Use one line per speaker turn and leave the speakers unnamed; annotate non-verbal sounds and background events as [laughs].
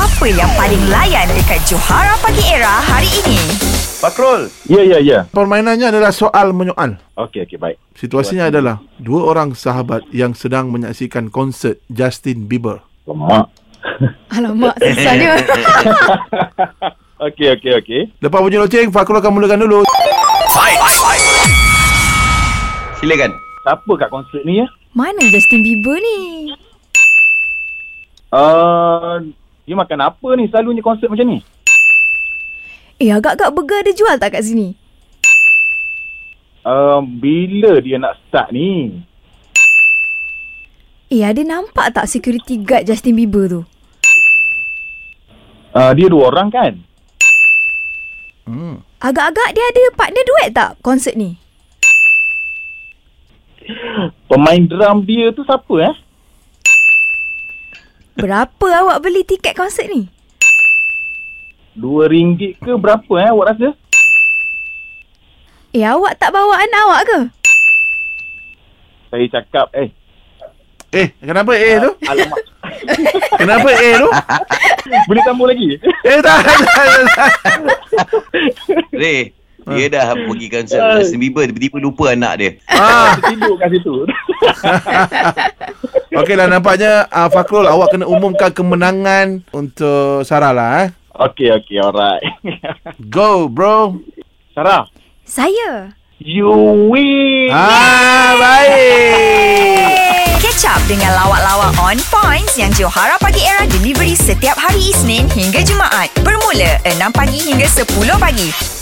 Apa yang paling layan dekat Johara Pagi Era hari ini?
Patrol.
Ya, ya, ya.
Permainannya adalah soal menyoal.
Okey, okey, baik.
Situasinya adalah dua orang sahabat yang sedang menyaksikan konsert Justin Bieber.
Lemak.
Alamak, susahnya.
Okey, okey, okey.
Lepas bunyi loceng, Fakrul akan mulakan dulu.
Silakan.
Siapa kat konsert ni ya?
Mana Justin Bieber ni?
Uh, dia makan apa ni selalunya konsert macam ni?
Eh, agak-agak burger dia jual tak kat sini?
Uh, bila dia nak start ni?
Eh, ada nampak tak security guard Justin Bieber tu?
Uh, dia dua orang kan?
Hmm.
Agak-agak dia ada partner duet tak konsert ni?
Pemain drum dia tu siapa eh?
Berapa [laughs] awak beli tiket konsert ni?
Dua ringgit ke berapa eh awak rasa?
Eh, awak tak bawa anak awak ke?
Saya cakap eh
Eh, kenapa A tu?
alamak.
Kenapa A tu?
[laughs]
[laughs]
Boleh sambung lagi?
Eh, tak. tak, tak, tak.
Ray. Dia dah pergi konsert Justin Bieber tiba-tiba lupa anak dia.
[laughs]
Ah,
Tidur kat situ.
Okeylah nampaknya uh, Fakrul awak kena umumkan kemenangan untuk Sarah lah eh.
okey, okey, alright.
Go bro.
[laughs] Sarah,
Saya.
you win.
Ah baik.
Catch up dengan lawak-lawak on points yang Johara Pagi Era delivery setiap hari Isnin hingga Jumaat bermula 6 pagi hingga 10 pagi.